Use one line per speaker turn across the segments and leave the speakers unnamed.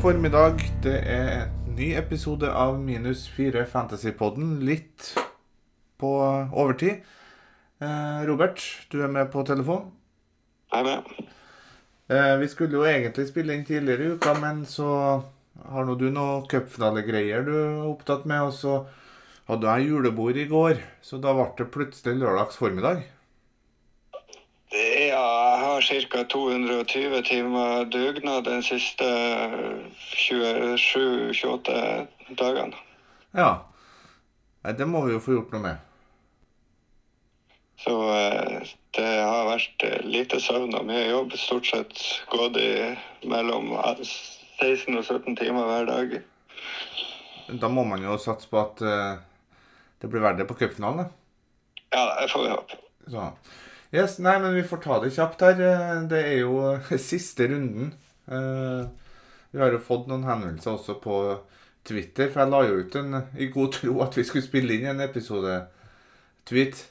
formiddag. Det er en ny episode av Minus 4 Fantasypodden. Litt på overtid. Eh, Robert, du er med på telefon.
Jeg er med.
Eh, vi skulle jo egentlig spille inn tidligere i uka, men så har nå du noe cupfinalegreier du er opptatt med, og så hadde jeg julebord i går, så da ble det plutselig lørdags formiddag.
Det er, ja, jeg har ca. 220 timer dugnad de siste eh, 27-28 dagene.
Ja. Nei, det må vi jo få gjort noe med.
Så eh, det har vært eh, lite søvn og mye jobb. Stort sett gått i mellom eh, 16 og 17 timer hver dag.
Da må man jo satse på at eh, det blir verdt det på cupfinalen, da.
Ja, det får vi håpe.
Så. Yes, nei, men vi får ta det kjapt her. Eh, Det er jo eh, siste runden. Eh, Vi har jo fått noen henvendelser også på Twitter, for jeg la jo ut en eh, i god tro at vi skulle spille inn en episode-tweet.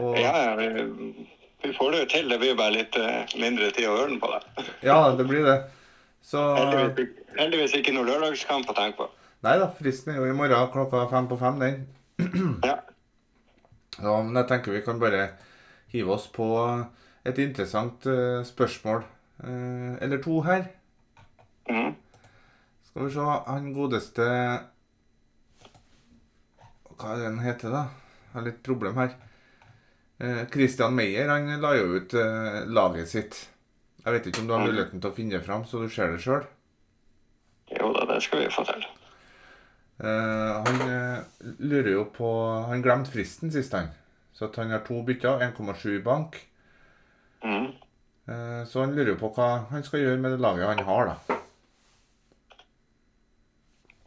Og
Ja, ja, vi, vi får det jo til. Det blir bare litt eh, mindre tid å høre den på. Da.
ja, det blir det. Så
Heldigvis, ikke- heldigvis ikke noe lørdagskamp å tenke på.
Nei da, fristen er jo i morgen klokka fem på fem, den.
Ja.
Ja, men jeg tenker vi kan bare hive oss på et interessant eh, spørsmål eh, eller to her.
Mhm.
Skal vi se Han godeste Hva er det han heter, da? Jeg har litt problem her. Eh, Christian Meyer han la jo ut eh, laget sitt. Jeg vet ikke om du har muligheten til å finne det fram, så du ser det sjøl.
Jo da, det skal vi få til.
Eh, han eh, lurer jo på Han glemte fristen sist, han. Så at han har to bytter, 1,7 i bank.
Mhm.
Eh, så han lurer jo på hva han skal gjøre med det laget han har, da.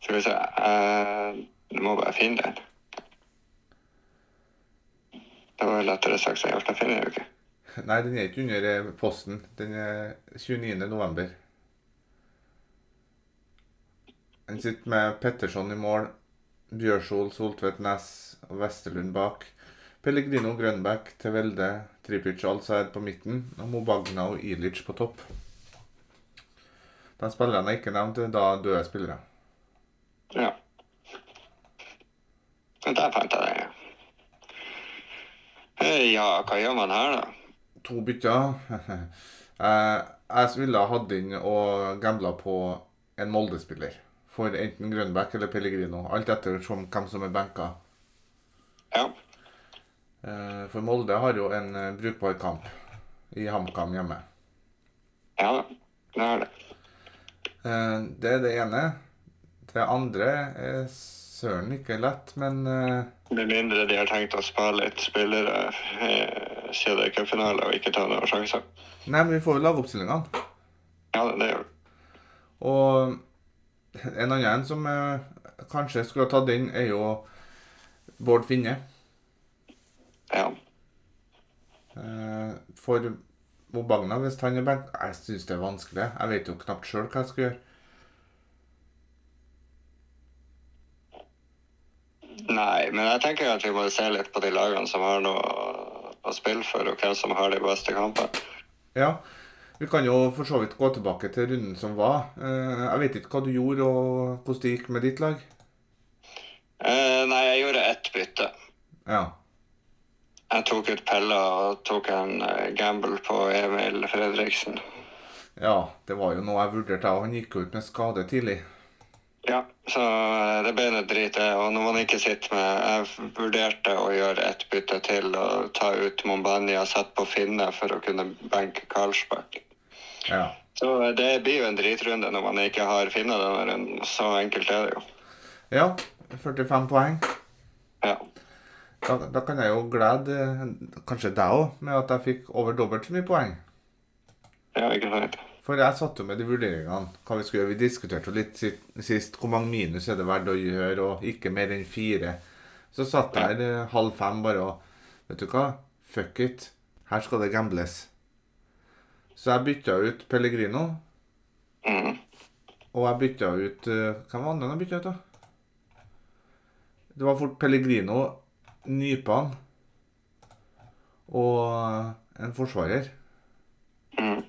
Skal vi se eh, Du må bare finne den. Det var jo lettere sagt enn gjort. Jeg finner den jo ikke.
Nei, den er ikke under eh, posten. Den er 29. november. Han sitter med Petterson i mål, Bjørsol, Soltvedt Næss og Vesterlund bak. Pellegrino Grønbæk til Velde, Tripic og Alsaid på midten, og Mobagna og Ilic på topp. De spillerne jeg ikke nevnte, da døde spillere.
Ja. Men der fant jeg den, ja. Eh, Ja, hva gjør man her, da?
to bytter. Eh, jeg ville ha hatt inn og gambla på en Molde-spiller. For enten Grønbæk eller Pellegrino. Alt etter som hvem som er benka.
Ja.
Eh, for Molde har jo en eh, brukbar kamp i HamKam hjemme.
Ja da. Det er det.
Eh, det er det ene. Det andre er søren ikke lett, men eh,
Med mindre de har tenkt å spare litt spillere eh, siden det er cupfinale og ikke ta noen sjanser.
Nei, men vi får jo lage oppstillingene.
Ja, det gjør det.
Og en annen som eh, kanskje skulle ha tatt inn, er jo Bård Finne.
Ja.
Eh, For Mobagna, hvis han er benk Jeg syns det er vanskelig. Jeg vet jo knapt sjøl hva jeg skal gjøre.
Nei, men jeg tenker at vi må se litt på de lagene som har noe å- å spille for, og hvem som har de beste kampene.
Ja, Vi kan jo for så vidt gå tilbake til runden som var. Eh, Jeg vet ikke hva du gjorde, og hvordan det gikk med ditt lag.
Eh, nei, jeg gjorde ett bytte.
Ja.
Jeg tok ut Pella og tok en eh, gamble på Emil Fredriksen.
ja, det var jo noe jeg vurderte, jeg. og Han gikk jo ut med skade tidlig.
Ja, så eh, det ble noe drit, det. Og når man ikke sitter med Jeg vurderte å gjøre ett bytte til og ta ut Mombania og sette på Finne for å kunne benke Karlsbakk.
Ja.
Så eh, det blir jo en dritrunde når man ikke har Finne denne runden. Så enkelt er det jo.
ja 45 poeng.
Ja.
Da, da kan jeg jo glede eh, kanskje deg òg med at jeg fikk over dobbelt så mye poeng.
Ja, ikke sant?
For jeg satt jo med de vurderingene. hva Vi skulle gjøre. Vi diskuterte jo litt sist, sist hvor mange minus er det verdt å gjøre, og ikke mer enn fire. Så satt jeg her eh, halv fem bare og Vet du hva? Fuck it. Her skal det gambles. Så jeg bytta ut Pellegrino,
Mm.
og jeg bytta ut eh, Hvem var det jeg bytta ut, da? Det var fort Pellegrino, Nypan og en forsvarer.
Mm.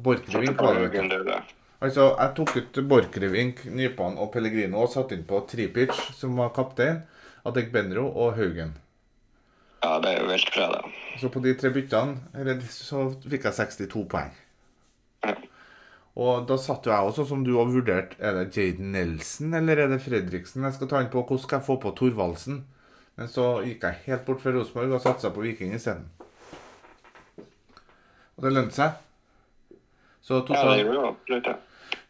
Borchgrevink var det. vet du.
Borgen, det, er det.
Altså, jeg tok ut Borchgrevink, Nypan og Pellegrino og satte inn på Tripic, som var kaptein, Adegbenro og Haugen.
Ja, det er jo vilt bra, da.
Så på de tre byttene eller, så fikk jeg 62 poeng.
Ja.
Og da satt jo jeg også, som du har vurdert, er det Jaden Nelson eller er det Fredriksen jeg skal ta inn på? Hvordan skal jeg få på Thorvaldsen? Men så gikk jeg helt bort fra Rosenborg og satsa på Viking isteden. Og det lønte seg. Så
Ja, det
totalt
gjorde jo absolutt det.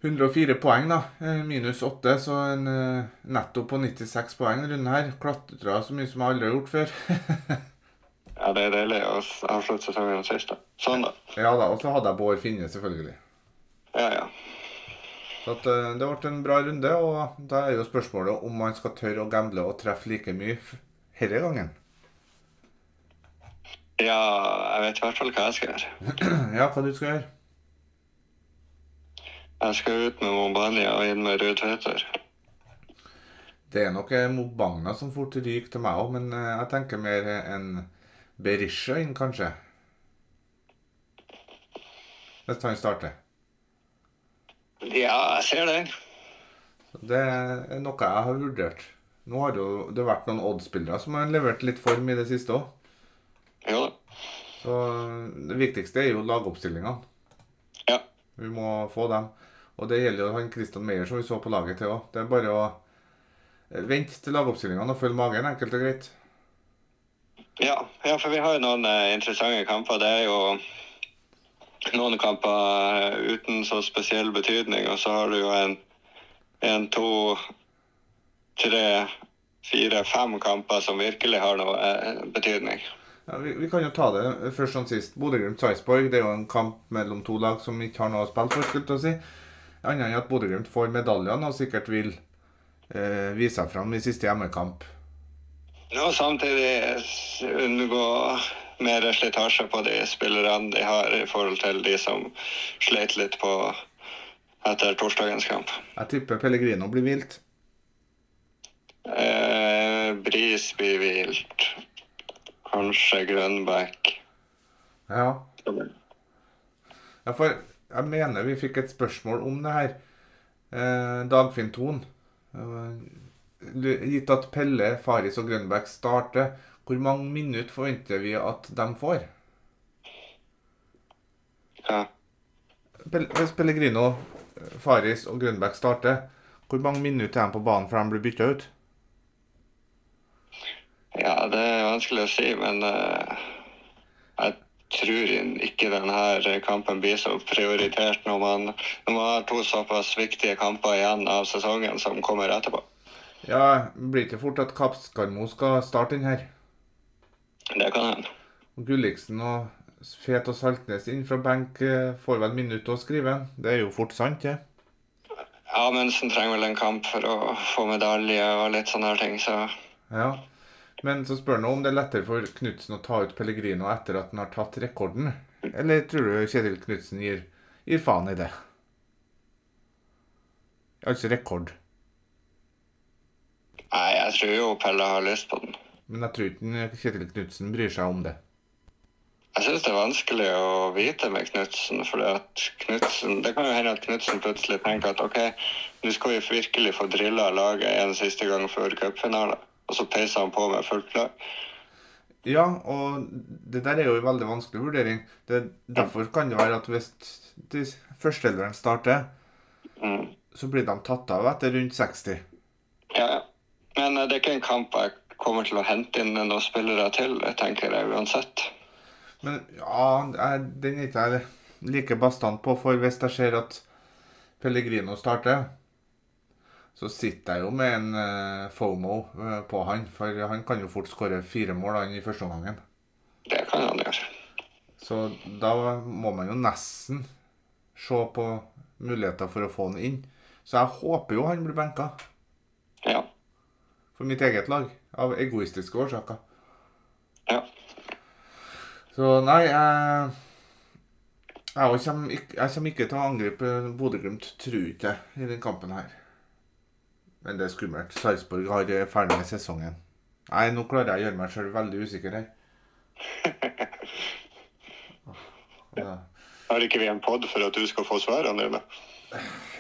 104 poeng, da. eh, Minus 8, så en eh, netto på 96 poeng runde her. Klatra så mye som jeg aldri har gjort før.
Ja, det er deilig å s- avslutte sesongen sist, da. Sånn, da.
ja da, Og så hadde jeg Bård Finne, selvfølgelig.
Ja, ja.
Så at, eh, det ble en bra runde, og da er jo spørsmålet om man skal tørre å gamble og treffe like mye f- herre gangen.
Ja, jeg vet i hvert fall hva jeg skal gjøre.
ja, hva du skal gjøre?
Jeg skal ut med Mombania og inn med Ruud Tveter.
Det er nok eh, Mobagna som fort ryker til meg òg, men eh, jeg tenker mer eh, en Berisha inn, kanskje. Hvis han starter.
Ja, jeg ser den.
Det er noe jeg har vurdert. Nå har det jo det har vært noen Odd-spillere som har levert litt form i det siste òg.
Jo da.
Så det viktigste er jo lagoppstillingene.
Ja.
Vi må få dem. Og det gjelder jo han Christian Meyer som vi så på laget til òg. Det er bare å eh, vente til lagoppstillingene og følge magen, enkelt og greit.
Ja, ja, for vi har jo noen eh, interessante kamper. Det er jo noen kamper eh, uten så spesiell betydning, og så har du jo en, en to, tre, fire, fem kamper som virkelig har noe eh, betydning.
Ja, vi, vi kan jo ta det først som sist. Bodø-Glimt-Sarpsborg det er jo en kamp mellom to lag som ikke har noe å spille for, skulle jeg til å si. Annet enn at Bodø-Glimt får medaljene og sikkert vil eh, vise seg fram i siste hjemmekamp.
Og samtidig s- unngå mer slitasje på de spillerne de har, i forhold til de som sleit litt på etter torsdagens kamp.
Jeg tipper Pellegrino blir vilt.
Eh, Bris blir vilt. Kanskje Grønbæk.
Ja. ja, for jeg mener vi fikk et spørsmål om det her. Eh, Dagfinn Thon. Eh, gitt at Pelle, Faris og Grønbæk starter, hvor mange minutter forventer vi at de får?
Ja.
Pel- Hvis Pellegrino, Faris og Grønbæk starter, hvor mange minutter er de på banen før de blir bytta ut?
ja, det er vanskelig å si, men eh, jeg tror in- ikke denne kampen blir så prioritert når man, når man har to såpass viktige kamper igjen av sesongen som kommer etterpå.
Ja, blir det ikke fort at Kapskarmo skal starte inn her?
Det kan hende.
Og Gulliksen og Fet og Saltnes inn fra benk eh, får vel minutt å skrive en. Det er jo fort sant, det.
Amundsen trenger vel en kamp for å få medalje og litt sånne her ting, så
Ja. Men så spør han om det er lettere for Knutsen å ta ut Pellegrino etter at han har tatt rekorden. Eller tror du Kjetil Knutsen gir, gir faen i det? Altså rekord.
Nei, jeg tror jo Pelle har lyst på den.
Men jeg tror ikke han- Kjetil Knutsen bryr seg om det.
Jeg syns det er vanskelig å vite med Knutsen, for det kan jo hende at Knutsen plutselig tenker at OK, nå skal vi virkelig få drilla laget en siste gang før cupfinalen, og så peiser han på med fullt lag.
Ja, og det der er jo en veldig vanskelig vurdering. Det, derfor kan det være at hvis de førsteelveren starter,
Mm.
så blir de tatt av etter rundt 60.
Ja, ja. Men eh, det er ikke en kamp jeg kommer til å hente inn noen spillere til, tenker jeg uansett.
Men ja, jeg, den er ikke jeg like bastant på, for hvis jeg ser at Pellegrino starter, så sitter jeg jo med en eh, FOMO eh, på han, for han kan jo fort skåre fire mål han i første omgangen.
Det kan han gjøre.
Så da må man jo nesten se på muligheter for å få han inn. Så jeg håper jo han blir benka,
Ja.
for mitt eget lag, av egoistiske årsaker.
ja.
Så nei, jeg jeg også kommer ikke, jeg kommer ikke til å angripe Bodø-Glimt, tror ikke jeg, i den kampen her. Men det er skummelt. Sarpsborg har eh, ferdig med sesongen. Nei, nå klarer jeg å gjøre meg sjøl veldig usikker her. Ja.
Har ikke vi en pod for at du skal få svarene dine?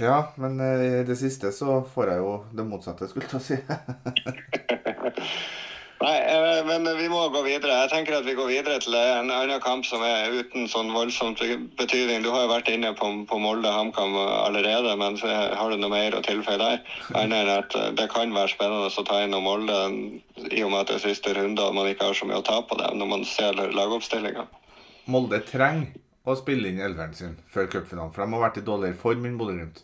Ja, men eh, i det siste så får jeg jo det motsatte, skulle jeg til å si.
Nei, eh, men vi må gå videre. Jeg tenker at vi går videre til en annen kamp som er uten sånn voldsomt betydning. Du har jo vært inne på, på Molde-HamKam allerede, men så har du noe mer å tilføye der? Annet enn at eh, det kan være spennende å ta inn om Molde i og med at det er siste runde og man ikke har så mye å ta på dem når man ser lagoppstillinga.
Molde trenger å spille inn elveren sin før cupfinalen, for de har vært i dårligere form enn Bodø-Glimt.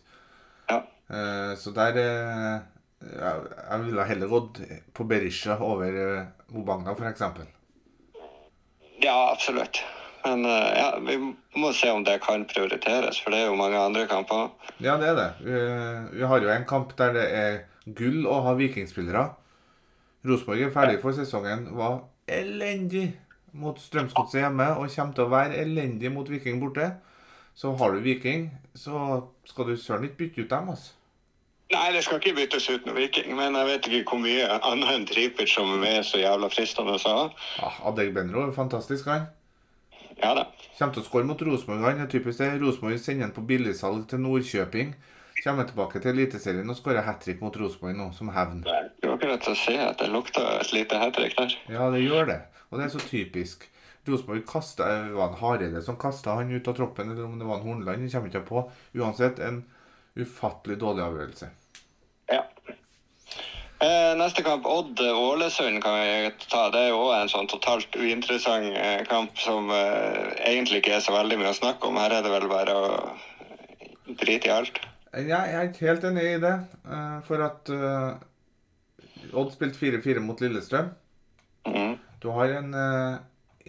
Ja.
Eh, Så der eh, Jeg jeg ville heller gått på Berisha over eh, Obanga, for eksempel.
Ja, absolutt. Men eh, ja, vi må se om det kan prioriteres, for det er jo mange andre kamper.
Ja, det er det. Vi, vi har jo en kamp der det er gull å ha vikingspillere. Rosenborg er ferdig for sesongen. Var elendig mot Strømsgodset hjemme og kommer til å være elendig mot Viking borte. Så har du Viking, så skal du søren ikke bytte ut dem, altså.
Nei, det skal ikke byttes ut med Viking, men jeg vet ikke hvor mye annet enn Tripic som er så jævla fristende å sa.
Ah, Adegbenro er fantastisk, han.
Ja da.
Kommer til å skåre mot Rosenborg. Han er typisk det. Rosenborg sender han på billigsalg til Nordkjøping. Kommer tilbake til Eliteserien og skårer hat trick mot Rosenborg nå, som hevn.
Det er jo akkurat å se at det lukter et lite hat trick der.
Ja, det gjør det. Og det er så typisk. Rosenborg kasta Var det Hareide som kasta han ut av troppen, eller om det var en Hornland? Jeg kommer ikke på. Uansett, en ufattelig dårlig avgjørelse.
Ja. Eh, neste kamp, Odd-Ålesund, kan vi ta. Det er jo også en sånn totalt uinteressant eh, kamp som eh, egentlig ikke er så veldig mye å snakke om. Her er det vel bare å drite i alt.
Jeg, jeg er ikke helt enig i det, eh, for at eh, Odd spilte 4-4 mot Lillestrøm.
Mhm.
Du har en eh,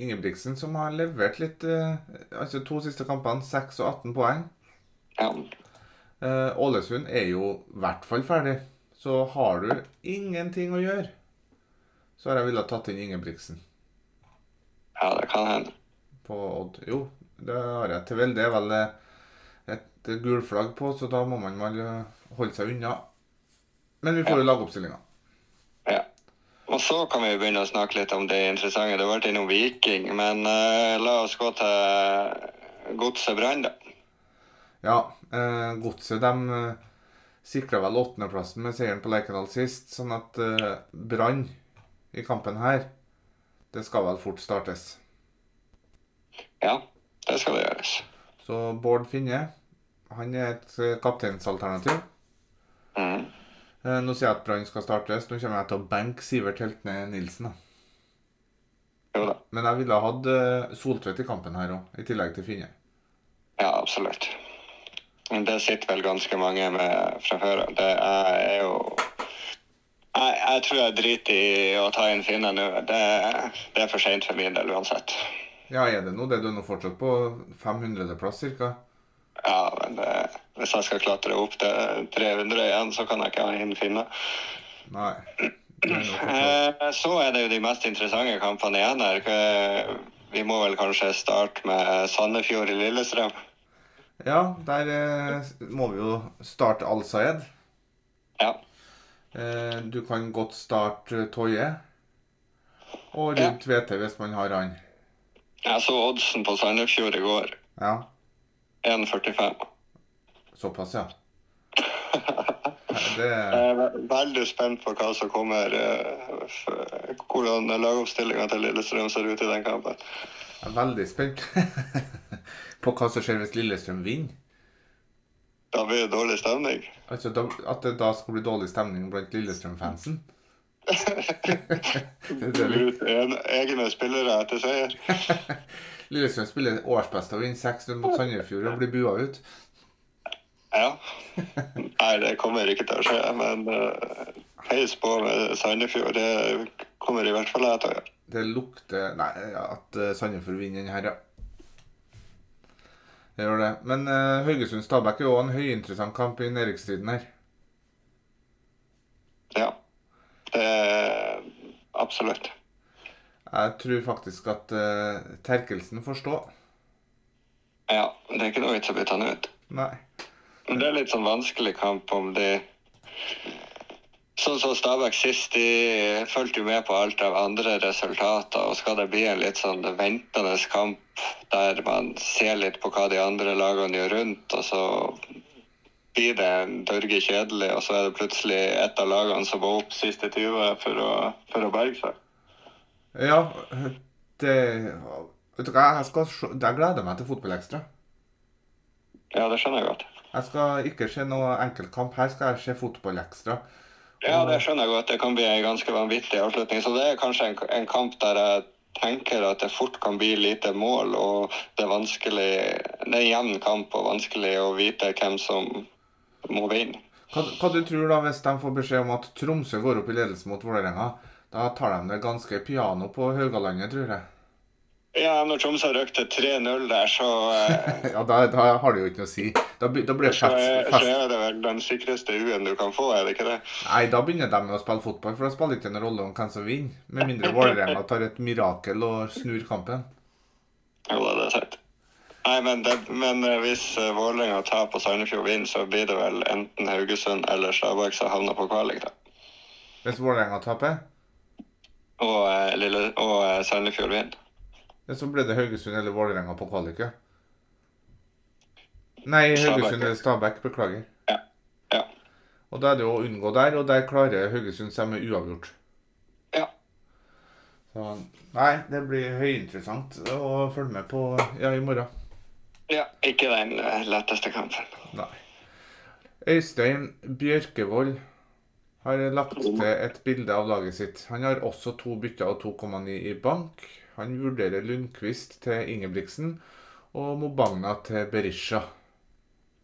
Ingebrigtsen som har levert litt eh, Altså to siste kampene, 6 og 18 poeng.
Ja.
Eh, Ålesund er jo i hvert fall ferdig. Så har du ingenting å gjøre, så har jeg villet tatt inn Ingebrigtsen.
ja, det kan hende.
på Odd. Jo, det har jeg til vel. Det er vel eh, et gulflagg på, så da må man vel eh, holde seg unna. Men vi får jo lagoppstillinga.
Ja. Og så kan vi begynne å snakke litt om det interessante. Du har vært innom Viking, men eh, la oss gå til Godset Brann, da.
Ja, eh, Godset de sikra vel åttendeplassen med seieren på Lerkendal sist, sånn at eh, Brann i kampen her, det skal vel fort startes.
Ja, det skal det gjøres.
Så Bård Finne, han er et eh, kapteinsalternativ.
Mm.
Eh, nå sier jeg at Brann skal startes. Nå kommer jeg til å benke Sivert Heltne Nilsen, da.
Jo da.
Men jeg ville ha hatt eh, Soltvedt i kampen her òg, i tillegg til Finne.
Ja, absolutt. Men det sitter vel ganske mange med fra før av. Det er, er jo jeg, jeg tror jeg driter i å ta inn Finne nå. Det, det er for seint for min del uansett.
Ja, er det nå det? Du er nå fortsatt på 500.-plass, cirka?
Ja, men det, hvis jeg skal klatre opp til 300 igjen, så kan jeg ikke ha inn Finne.
Nei. Du er nå fortsatt-
Eh, Så er det jo de mest interessante kampene igjen her. Eh, Vi må vel kanskje starte med Sandefjord i Lillestrøm.
Ja, der eh, må vi jo starte Al-Sayed.
Ja.
Eh, du kan godt starte eh, Toye. Og Ruud Tvete, hvis man har han.
Jeg så oddsen på Sandefjord i går.
Ja,
1,45.
såpass, ja. Det
Jeg er Eh, ve- veldig spent på hva som kommer, eh, f- hvordan lagoppstillinga til Lillestrøm ser ut i den kampen.
jeg er veldig spent på hva som skjer hvis Lillestrøm vinner.
Da blir det dårlig stemning.
Altså, da, At det da skal bli dårlig stemning blant Lillestrøm-fansen. Det er litt-
Ut en- egne spillere etter seier.
Lillestrøm spiller årsbeste og vinner 6-0 mot Sandefjord og blir bua ut.
Ja. Nei, det kommer ikke til å skje, men eh, heis på med Sandefjord. Det kommer i hvert fall jeg til å gjøre.
Det lukter Nei, at eh, Sandefjord vinner den her, ja. Det gjør det. Men eh, Haugesund-Stabæk er jo også en høyinteressant kamp i nedrykksstriden her.
Ja. Det Absolutt.
Jeg tror faktisk at eh, Terkelsen får stå.
Ja, det er ikke noe vits å bytte han ut.
Nei.
Men det er litt sånn vanskelig kamp om de Sånn som Stabæk sist, de fulgte jo med på alt av andre resultater. Og skal det bli en litt sånn ventende kamp der man ser litt på hva de andre lagene gjør rundt, og så blir det en dørge kjedelig, og så er det plutselig et av lagene som var opp siste 20 for å, for å berge seg.
Ja, det Vet du hva, jeg skal se Jeg gleder meg til Fotballekstra.
Ja, det skjønner jeg godt.
Jeg skal ikke se noe enkeltkamp. Her skal jeg se Fotballekstra.
Ja, det skjønner jeg godt. Det kan bli en ganske vanvittig avslutning. Så det er kanskje en, en kamp der jeg tenker at det fort kan bli lite mål, og det er vanskelig Det er en jevn kamp og vanskelig å vite hvem som må vinne.
Hva, hva du tror da hvis de får beskjed om at Tromsø går opp i ledelse mot Vålerenga? Da tar de det ganske piano på Haugalandet, tror jeg.
Ja, når Tromsø røk til 3-0 der, så, eh,
Ja, da, da har det jo ikke noe å si. Da, be- da blir det
så, er,
fest.
så
fest.
er det vel den sikreste U-en du kan få, er det ikke det?
Nei, da begynner de å spille fotball, for da spiller det ikke noen rolle om hvem som vinner. Med mindre Vålerenga tar et mirakel og snur kampen.
Jo, da, det er sant. Nei, men, det, men eh, hvis eh, Vålerenga taper og Sandefjord vinner, så blir det vel enten Haugesund eller Stabæk som havner på kvalik, da.
Hvis Vålerenga taper,
Og, eh, Lille, og eh, Sandefjord vinner.
ja, så blir det Haugesund eller Vålerenga på kvaliket. Nei, Haugesund eller Stabæk. Beklager.
Ja. Ja.
Og da er det jo å unngå der, og der klarer Haugesund seg med uavgjort.
ja.
Så nei, det blir høyinteressant å følge med på ja, i morgen.
Ja, ikke den eh, letteste kampen.
Nei. Øystein Bjørkevold har lagt til et bilde av laget sitt. Han har også to bytter og 2,9 i bank. Han vurderer Lundqvist til Ingebrigtsen og Mobagna til Berisha.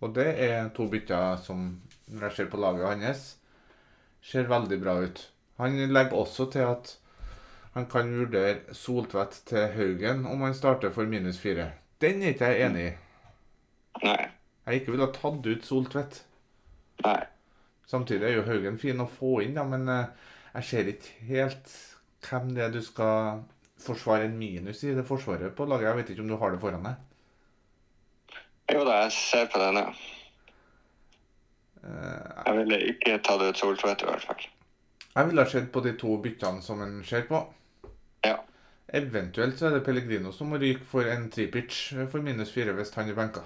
Og det er to bytter som, når jeg ser på laget hans, ser veldig bra ut. Han legger også til at han kan vurdere Soltvedt til Haugen om han starter for minus fire. Den er ikke jeg enig i
Nei.
jeg ikke ville ha tatt ut Soltvedt.
Nei.
Samtidig er jo Haugen fin å få inn, da, men eh, jeg ser ikke helt hvem det er du skal forsvare en minus i det forsvaret på laget. Jeg vet ikke om du har det foran deg.
Jo da, jeg ser på den, ja.
Eh,
Jeg ville ikke tatt ut Soltvedt i hvert fall.
Jeg ville ha sett på de to byttene som en ser på.
Ja.
Eventuelt så er det Pellegrino som må ryke for en tripic eh, for minus fire hvis han er benka.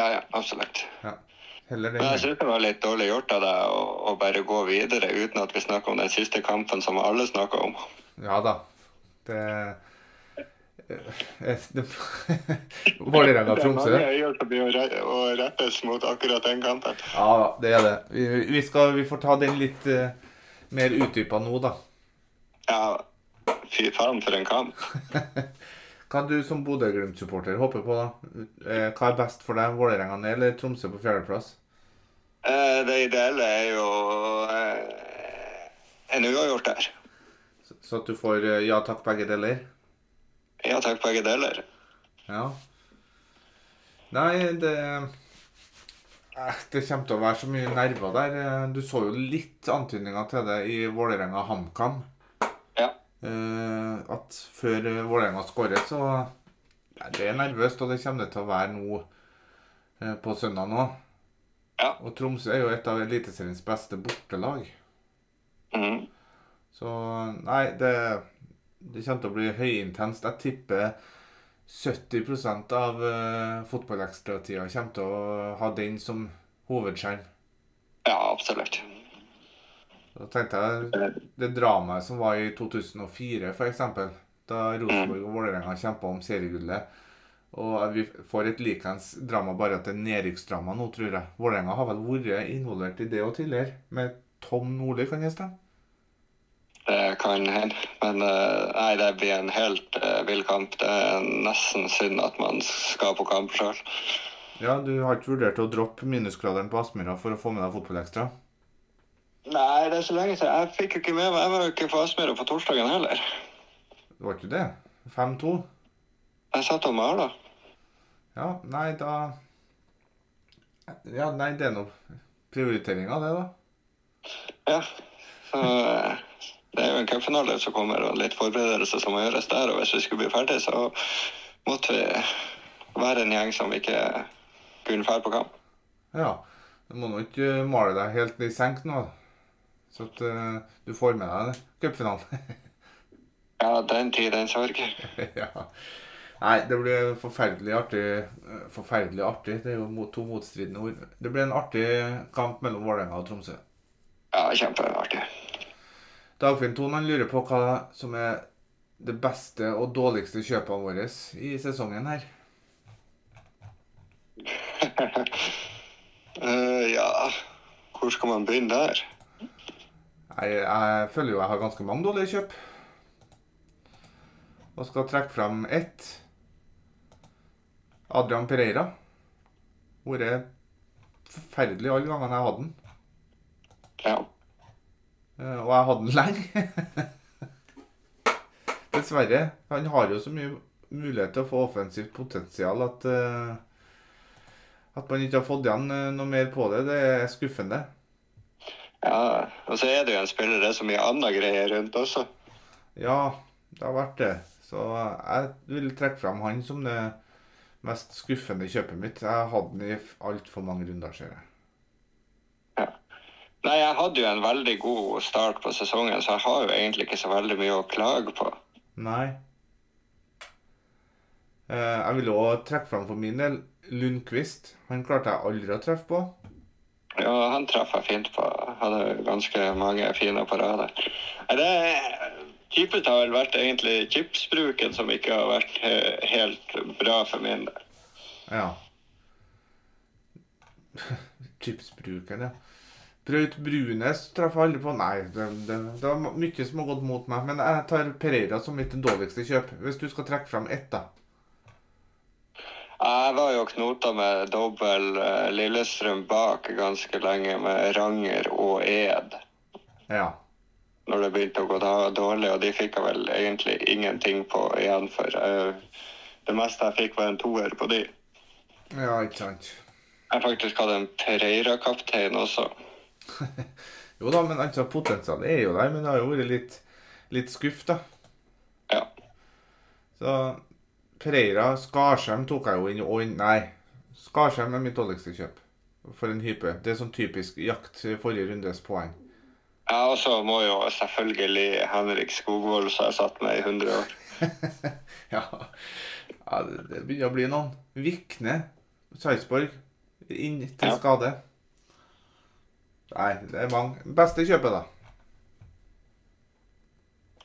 Ja, ja, absolutt.
Ja. Heller det.
Men jeg
enn-
syns det var litt dårlig gjort av deg å, å bare gå videre uten at vi snakker om den siste kampen som alle snakker om.
Ja da. Det Eh, det- Vålerenga-Tromsø.
Det er mange øyer som blir å re- å rettes mot akkurat den kampen.
Ja da, det er det. Vi, vi, skal, vi får ta den litt eh, mer utdypa nå, da.
Ja, fy faen for en kamp.
Hva du som Bodø-Glimt-supporter håper på, da? Eh, Hva er best for deg? Vålerenga ned eller Tromsø på fjerdeplass?
Eh, Det ideelle er jo eh, en uavgjort der.
Så- Så at du får eh, ja takk, begge deler?
Ja takk, begge deler.
Ja. Nei, det Eh, Det kommer til å være så mye nerver der. Eh, Du så jo litt antydninger til det i Vålerenga-HamKam.
Ja.
Eh, at før eh, Vålerenga skårer, så Nei, Det er nervøst, og det kommer det til å være nå eh, på søndag nå.
Ja.
Og Tromsø er jo et av Eliteseriens beste bortelag.
Mhm.
Så nei, det, det kommer til å bli høyintenst. Jeg tipper 70 av uh, fotballekstratida kommer til å ha den som hovedskjerm.
Ja, absolutt.
Da tenkte jeg det dramaet som var i 2004, f.eks. Da Rosenborg og Vålerenga kjempa om seriegullet. Og at vi får et likeens drama, bare at det er nedrykksdrama nå, tror jeg. Vålerenga har vel vært involvert i det og tidligere, med Tom Nordli, kan jeg stemme?
Det kan hende. Men eh, nei, det blir en helt eh, vill kamp. Det er nesten synd at man skal på kamp sjøl.
Ja, du har ikke vurdert å droppe minusgraderen på Aspmyra for å få med deg fotballekstra?
Nei, det er så lenge siden. Jeg fikk jo ikke med meg Jeg var jo ikke på Aspmyra på torsdagen heller.
Det var ikke det? 5-2?
Jeg satt og mala.
Ja, nei, da Ja, nei, det er nå prioriteringa, det, da.
Ja. Så eh, det er jo en cupfinale som kommer, og litt forberedelse som må gjøres der. Og hvis vi skulle bli ferdig, så måtte vi være en gjeng som ikke kunne dra på kamp.
Ja. Du må nå ikke male deg helt i senk nå. Så at eh, du får med deg det. cupfinalen.
Ja, den tid, den sorg.
ja. Nei, det blir forferdelig artig. eh, Forferdelig artig, det er jo mot, to motstridende ord. Det blir en artig kamp mellom Vålerenga og Tromsø.
Ja, kjempeartig.
Dagfinn Thon han lurer på hva som er det beste og dårligste kjøpene våre i sesongen her.
Eh, ja, hvor skal man begynne der?
Jeg, jeg føler jo jeg har ganske mange dårlige kjøp. Og skal trekke fram ett. Adrian Pereira. Vært forferdelig alle gangene jeg hadde den.
Ja.
Eh, Og jeg hadde den lenge. Dessverre. Han har jo så mye mulighet til å få offensivt potensial at eh, At man ikke har fått igjen eh, noe mer på det, det er skuffende.
ja. Og så er det jo en spiller det er så mye annet greier rundt også.
Ja, det har vært det. Så jeg vil trekke fram han som det mest skuffende kjøpet mitt. Jeg hadde han i altfor mange runder, ser jeg.
Nei, jeg hadde jo en veldig god start på sesongen, så jeg har jo egentlig ikke så veldig mye å klage på.
Nei. Eh, Jeg vil òg trekke fram for min del Lundqvist. Han klarte jeg aldri å treffe på.
Ja, han traff jeg fint på. Hadde ganske mange fine på rad der. Nei, Det typet har vel vært egentlig chipsbruken som ikke har vært he- helt bra for min del.
Ja. Chipsbrukeren, ja. Braut Brunes traff jeg aldri på. Nei, det, det, det var mye som har gått mot meg. Men jeg tar Pereira som mitt dårligste kjøp. Hvis du skal trekke fram ett, da.
Jeg var jo knota med dobbel eh, Lillestrøm bak ganske lenge med Ranger og Ed
Ja.
når det begynte å gå da- dårlig, og de fikk jeg vel egentlig ingenting på igjen for. eh, Det meste jeg fikk, var en toer på de.
Ja, ikke sant.
Jeg faktisk hadde en Pereira-kaptein også.
Jo da, men altså, potensialet er jo der, men det har jo vært litt, litt skuff, da.
Ja.
Så Pereira Skarsheim tok jeg jo inn og inn. Nei. Skarsheim er mitt dårligste kjøp. For en hype. Det er sånn typisk jakt i forrige rundes poeng.
Jeg også må jo selvfølgelig Henrik Skogvold, som jeg satt med i 100 år.
ja. ja, det det begynner å bli noen. Vikne, Sarpsborg, inn til
Ja.
skade. Nei, det er mange. Beste kjøpet, da.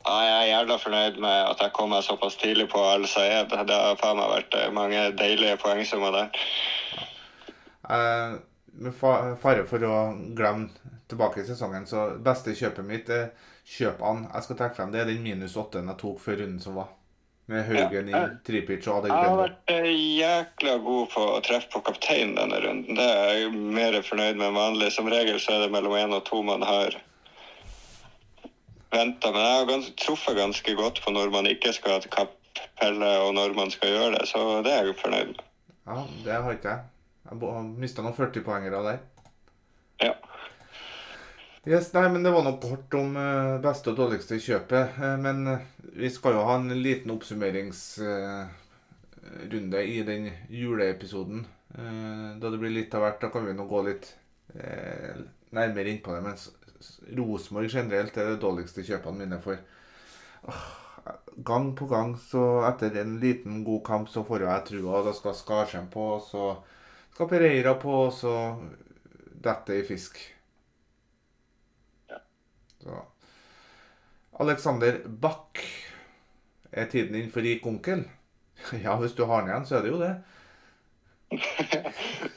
Ja, Jeg er jævla fornøyd med at jeg kom meg såpass tidlig på Al Sayed. Det har faen meg vært eh, mange deilige poengsummer der.
Eh, med fa- fare for å glemme tilbake i sesongen, så beste kjøpet mitt er kjøpene jeg skal trekke frem. Det er den minus åtten jeg tok før runden som var. Med Haugen
Ja.
i Tripic og Adel
Jeg har
Brenner.
vært eh, jækla god på å treffe på kapteinen denne runden. Det er jeg mer fornøyd med enn vanlig. Som regel så er det mellom én og to man har venta. Men jeg har gans truffet ganske godt på når man ikke skal ha et kappelle, og når man skal gjøre det. Så det er jeg fornøyd med.
Ja, det har ikke jeg. Jeg mista noen 40-poengere der.
Ja.
Yes, nei, men Det var nok kort om eh, beste og dårligste kjøpet. eh, Men eh, vi skal jo ha en liten oppsummeringsrunde eh, i den juleepisoden. Eh, Da det blir litt av hvert, da kan vi nå gå litt eh, nærmere inn på det. Men s- s- Rosenborg generelt er det dårligste kjøpene mine for. Åh, Gang på gang, så etter en liten god kamp, så får jo jeg trua. Da skal Skarsheim på, og så skal Pereira på, og så detter det i fisk. Så. Alexander Bach. Er tiden inn for rik onkel? Ja, hvis du har den igjen, så er det jo det.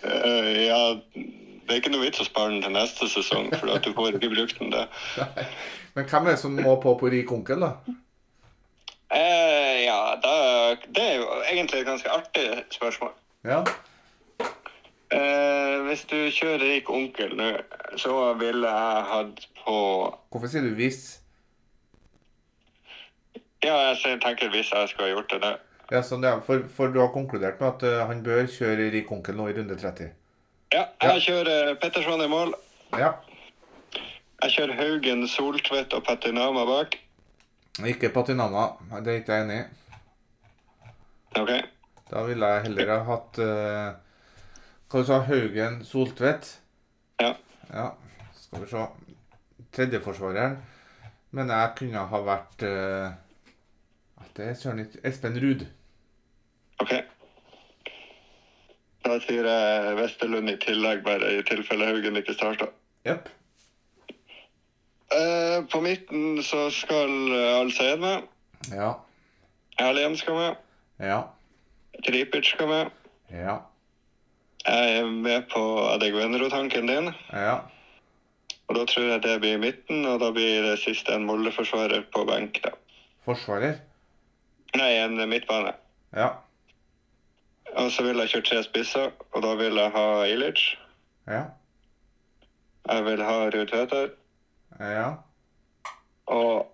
Eh, ja, det er ikke noe vits å spare den til neste sesong, for at du får ikke brukt den da.
Men hvem er det som må på på rik onkel, da?
Eh, ja, da, det er jo egentlig et ganske artig spørsmål.
Ja,
Eh, hvis du kjører rik onkel nå, så ville jeg hatt på
Hvorfor sier du 'hvis'?
Ja, jeg ser- tenker hvis jeg skulle ha gjort det, det.
Ja, sånn det er, for, for du har konkludert med at eh, han bør kjøre rik onkel nå i runde 30.
Ja, jeg kjører Petterson i mål.
Ja.
Jeg kjører Haugen, Soltvedt og Petinama bak.
Ikke Patinama. Nei, Det er ikke jeg enig i.
OK.
Da ville jeg heller ha hatt eh, Hva du sa Haugen Soltvedt?
Ja.
Ja, skal vi se. Tredjeforsvareren mener jeg kunne ha vært eh, at Det er søren ikke Espen Ruud.
OK. Da sier jeg Vesterlund i tillegg, bare i tilfelle Haugen ikke starter.
Jepp.
Eh, på midten så skal eh, Alseid med.
Ja.
Erliem skal med.
Ja.
Tripic skal med.
Ja.
Jeg er med på Adegwenro-tanken din.
Ja.
Og da tror jeg det blir midten, og da blir det siste en Molde-forsvarer på benk, da.
Forsvarer.
Nei, en midtbane.
Ja.
Og så vil jeg kjøre tre spisser, og da vil jeg ha Ilic.
Ja.
Jeg vil ha Ruud Tveter.
Ja.
Og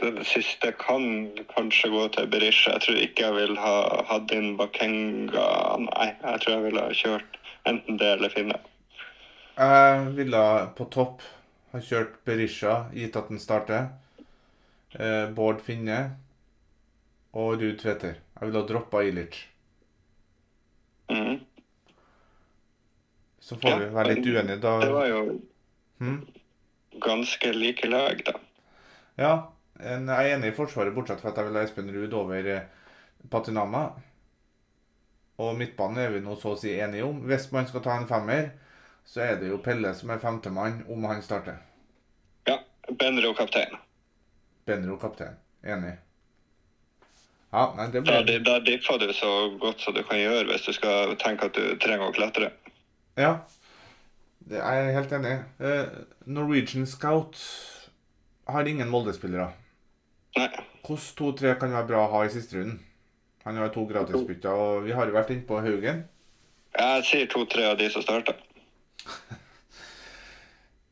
den siste kan kanskje gå til Berisha. Jeg tror ikke jeg vil ha Hadin Bakenga. Nei, jeg tror jeg ville ha kjørt enten det eller Finne.
Jeg ville på topp ha kjørt Berisha, gitt at den starter. Eh, Bård Finne og Ruud Tveter. Jeg ville ha droppa Ilic.
Mhm.
Så får
Ja,
vi være litt
men
uenige, da.
Det var jo
Hm?
ganske like lag, da.
Ja, en, jeg er enig i Forsvaret, bortsett fra at jeg vil ha Espen Ruud over eh, Patinama. Og midtbanen er vi nå så å si enige om. Hvis man skal ta en femmer, så er det jo Pelle som er femtemann om han starter.
Ja. Benro kaptein.
Benro kaptein. Enig. Ja, nei, det
Da,
blir
di- da dipper du så godt som du kan gjøre hvis du skal tenke at du trenger å klatre.
Ja, det er jeg helt enig i. Eh, Norwegian Scout har ingen Molde-spillere.
Nei.
Hvordan to-tre kan være bra å ha i siste runden? Han har to gratisbytter, og vi har jo vært inne på Haugen.
Jeg sier to-tre av de som starter.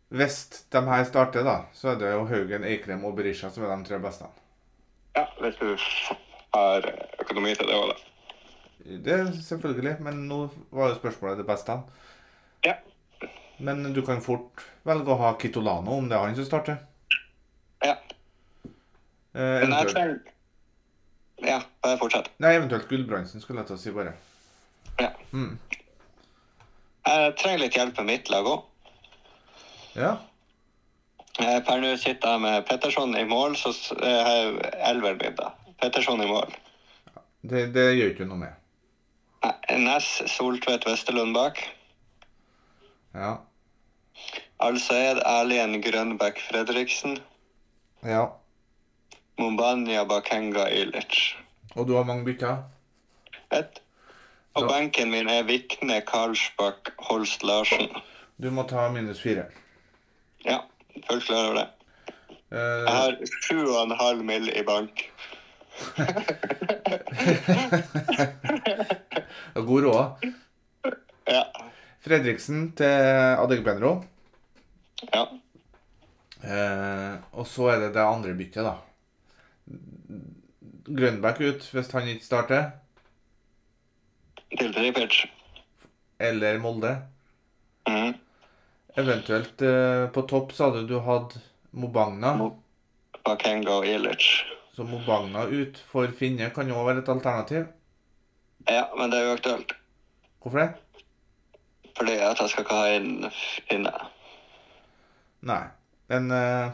Hvis de her starter, da, så er det jo Haugen, Eikrem og Berisha som er de tre beste.
Ja, hvis du f- har økonomi til det òg, da.
Det er selvfølgelig, men nå var jo spørsmålet det beste.
Ja.
Men du kan fort velge å ha Kitolano, om det er han som starter.
ja.
Eh,
Men jeg
eventuelt,
trenger Ja, bare fortsett.
nei, eventuelt Gulbrandsen, skulle jeg til å si bare.
Ja.
Mm.
Jeg trenger litt hjelp med mitt lag òg.
Ja,
Eh, Per nå sitter jeg med Petterson i mål, så s- eh, har jeg elveren min, da. Petterson i mål.
det, det gjør ikke noe med.
Nei, Næss, Eh, Soltvedt, Westerlund bak.
Ja.
Al-Sayed, Erlien, Grønbæk, Fredriksen.
Ja.
Mumbanya, Bakenga, Ilic.
Og du har mange bytter?
Ett. Og
Ja.
benken min er Vikne, Karlsbakk, Holst, Larsen.
Du må ta minus fire.
Ja, fullt klar over det. Jeg
Eh,
har sju og en halv mil i bank.
god råd.
Ja.
Fredriksen til Adegbenro.
ja.
Eh, og så er det det andre byttet, da. Grønbæk ut hvis han ikke starter.
Til Tripic.
Eller Molde.
Mhm.
Eventuelt eh, på topp sa du du hadde Mobagna.
Mo- Bakenga og Ilic.
Så Mobagna ut for Finne kan jo også være et alternativ.
Ja, men det er jo aktuelt.
Hvorfor det?
Fordi at jeg skal ikke ha en finne.
Nei. Men eh,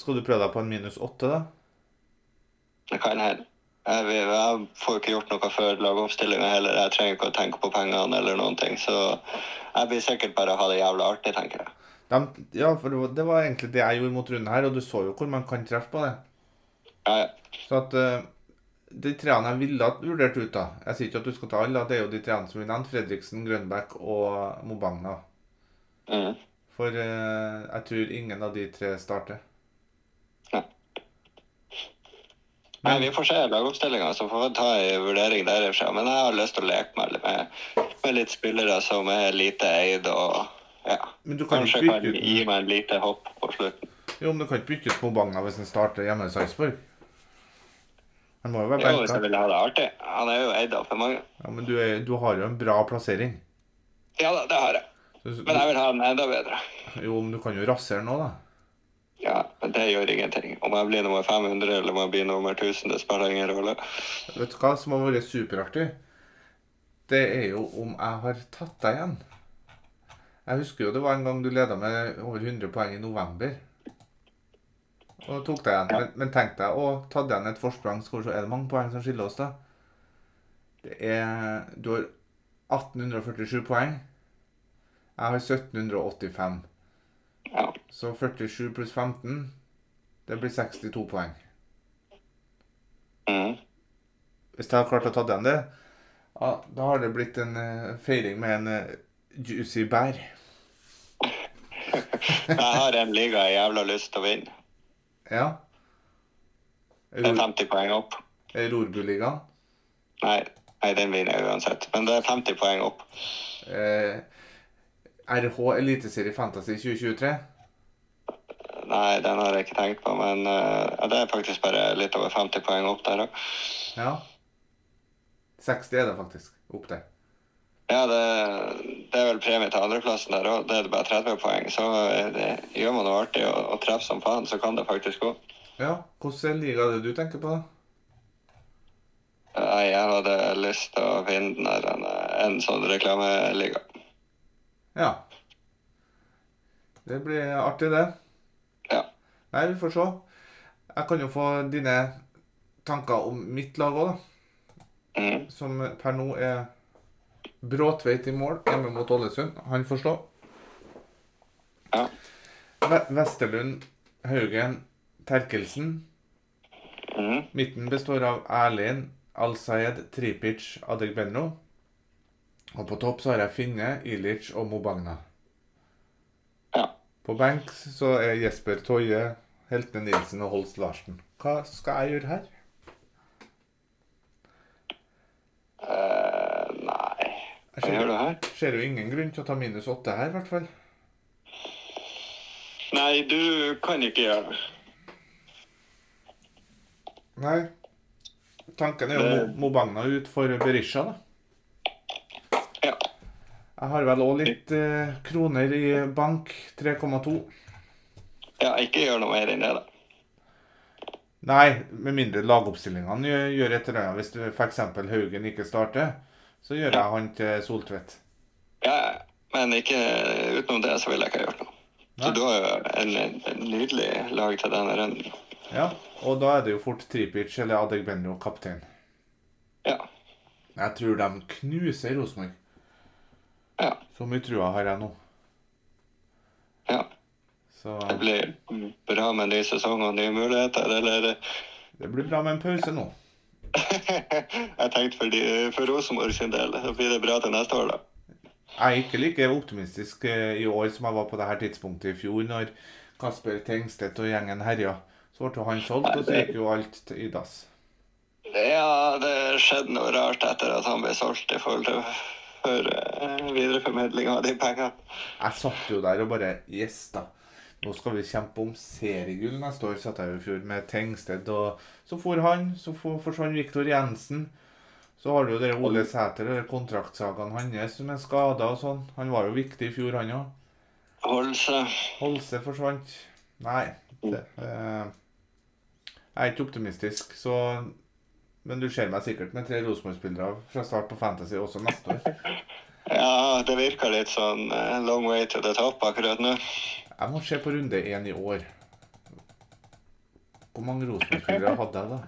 skal du prøve deg på en minus åtte, da?
Det kan hende. Jeg, vil, jeg får ikke gjort noe før lagoppstillinga heller. Jeg trenger ikke å tenke på pengene eller noen ting. Så jeg blir sikkert bare å ha det jævla artig, tenker jeg.
De, ja, for det var, det var egentlig det jeg gjorde mot runden her, og du så jo hvor man kan treffe på det.
Ja, ja.
Så at eh, de treene jeg ville ha vurdert ut, da Jeg sier ikke at du skal ta alle, da. det er jo de treene som vi nevnte. Fredriksen, Grønbæk og Mobagna.
Mhm.
For eh, jeg tror ingen av de tre starter.
Nei.
Men-
Nei, vi får se lagoppstillinga, så får vi ta en vurdering derifra. Men jeg har lyst til å leke meg litt med, med litt spillere som er lite eid og ja.
Men du kan jo
Kanskje
ikke
kan
bytte ut
gi meg en lite hopp på slutten.
Jo, men du kan ikke bytte ut Mobagna hvis han starter hjemme i Sarpsborg. Han må jo
Jo,
være
hvis
benka.
jeg vil ha det artig. Han er jo eid av for mange.
Ja, men du, er, du har jo en bra plassering.
Ja da, det har jeg.
Så,
Men jeg vil ha den enda bedre.
jo, men du kan jo rasere nå, da.
Ja, men det gjør ingenting. Om jeg blir nummer 500 eller om jeg blir nummer 1000, det spiller ingen rolle.
Vet du hva som har vært superartig? Det er jo om jeg har tatt deg igjen. Jeg husker jo det var en gang du leda med over 100 poeng i november. Og tok deg igjen. Men, men tenk deg å ta deg igjen et forsprang, skal vi se, er det mange poeng som skiller oss, da? Det er Du har 1847 poeng. Jeg har 1785.
Ja.
Så 47 pluss 15, det blir 62 poeng.
Mm.
Hvis jeg har klart å ta den, det, ja, da har det blitt en eh, feiring med en eh, juicy bær.
Jeg har en liga jeg jævla lyst til å vinne.
Ja.
Det er
Ror-
50 poeng opp.
eh, Rorbuligaen.
Nei, nei den vinner jeg uansett. Men det er 50 poeng opp.
Eh, RH Eliteserie Fantasy 2023.
Nei, den har jeg ikke tenkt på, men eh, ja, det er faktisk bare litt over 50 poeng opp der òg.
Ja. 60 er det faktisk. Opp der.
Ja, det, det er vel premie til andreplassen der òg. Det er bare 30 poeng. Så eh, det, gjør man noe artig og, og treffer som faen, så kan det faktisk gå.
Ja. Hvilken liga er det du tenker på, da?
Nei, jeg hadde lyst til å vinne den der, en, en sånn reklameliga.
Ja. Det blir artig, det.
Ja.
Nei, vi får se. Jeg kan jo få dine tanker om mitt lag òg, da.
Mm.
Som per nå er Bråtveit i mål hjemme mot Ålesund. Han får slå.
Ja.
Ve- Vesterlund, Haugen, Terkelsen.
Mm.
Midten består av Erlin, Al-Sayed, Tripic, Adegbenro. Og på topp så har jeg Finne, Ilic og Mobagna.
Ja.
På benk så er Jesper Toje, Heltne Nilsen og Holst Larsen. Hva skal jeg gjøre her?
Eh, nei Hva gjør du her?
Ser jo ingen grunn til å ta minus åtte her, i hvert fall.
Nei, du kan ikke gjøre det.
Nei. Tanken er jo Mo- Mobagna ut for Berisha, da.
Ja.
Jeg har vel òg litt eh, kroner i bank. 3,2.
ja, ikke gjør noe mer enn det, da.
Nei, med mindre lagoppstillingene gjør, gjør et eller annet. Hvis du- for eksempel Haugen ikke starter, så gjør jeg han til Soltvedt.
Ja, ja. men ikke utenom det så ville jeg ikke ha gjort noe. Så
Nei.
du har jo en, en nydelig lag til denne runden.
Ja, og da er det jo fort Tripic eller Adegbenro kaptein.
Ja.
Jeg tror de knuser Rosenborg.
Ja.
Så mye trua har jeg nå.
ja.
Så
Det blir bra med en ny sesong og nye muligheter, eller
det blir bra med en pause nå.
Jeg tenkte for, de, for Rosenborg sin del, så blir det bra til neste år, da.
Jeg er ikke like optimistisk eh, i år som jeg var på det her tidspunktet i fjor, når Kasper Tengstedt og gjengen herja. Så ble jo han solgt, og så gikk jo alt i dass.
Ja, det skjedde noe rart etter at han ble solgt i forhold til for eh, videreformidling av de pengene.
Jeg satt jo der og bare Yes, da. Nå skal vi kjempe om seriegull neste år, satt jeg jo i fjor med Tengsted. Og så for han, så for, forsvant Viktor Jensen. Så har du jo det Ole Sæter og kontraktsakene hans som er skada og sånn. Han var jo viktig i fjor, han òg.
Holse.
Holse forsvant. Nei. Det, eh, jeg er ikke optimistisk, så Men du ser meg sikkert med tre Rosenborg-spillere fra start på Fantasy også neste år.
Ja, det virker litt sånn eh, long way to the top akkurat nå.
Jeg må se på runde én i år. Hvor mange Rosenborg-spillere hadde jeg, da?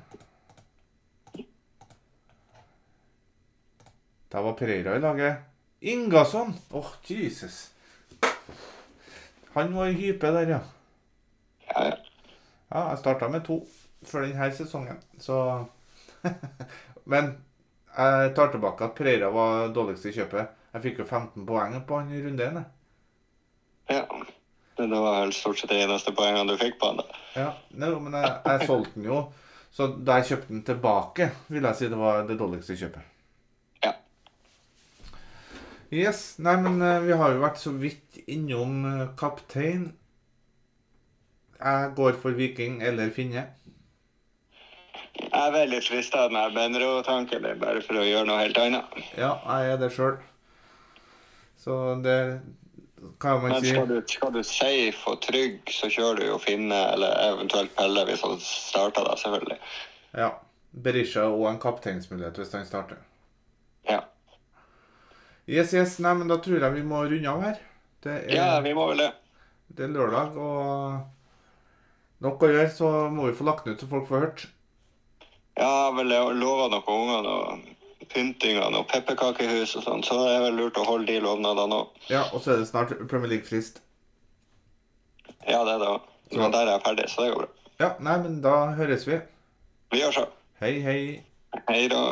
Da var Pereira i laget. Ingasson! Åh, Jesus. Han var i hype der, ja.
Ja, ja.
Ja, jeg starta med to før denne sesongen, så Men jeg tar tilbake at Pereira var dårligst i kjøpet. Jeg fikk jo 15 poeng på han i runde én. jeg.
ja. Men det var vel stort sett de eneste poengene du fikk på han, da.
Ja, nei, jo, men jeg, jeg solgte den jo. Så da jeg kjøpte den tilbake, vil jeg si det var det dårligste kjøpet.
Ja.
Yes. Nei, men eh, vi har jo vært så vidt innom eh, kaptein. Jeg går for Viking eller Finne.
Jeg er veldig frista av den her Benro-tanken, det er bare for å gjøre noe helt annet.
Ja, jeg er det sjøl. Så det Hva kan man
Men
si?
skal du, skal du safe og trygg, så kjører du jo Finne, eller eventuelt Pelle, hvis han starter, da, selvfølgelig.
Ja. Berisha og en kapteinsmulighet hvis han starter.
Ja.
Yes, yes. Nei, men da tror jeg vi må runde av her. Det er
ja, vi må vel det.
Det er lørdag, og nok å gjøre, så må vi få lagt den ut så folk får hørt.
Ja, vel, jeg lover noe ungene å pyntingene og pepperkakehus og sånn, så det er vel lurt å holde de lovnadene òg.
Ja, og så er det snart Premier League-frist.
Ja, det er det òg. Men der er jeg ferdig, så det går bra.
Ja, nei, men da høres vi.
Vi gjør så.
Hei, hei.
Hei da.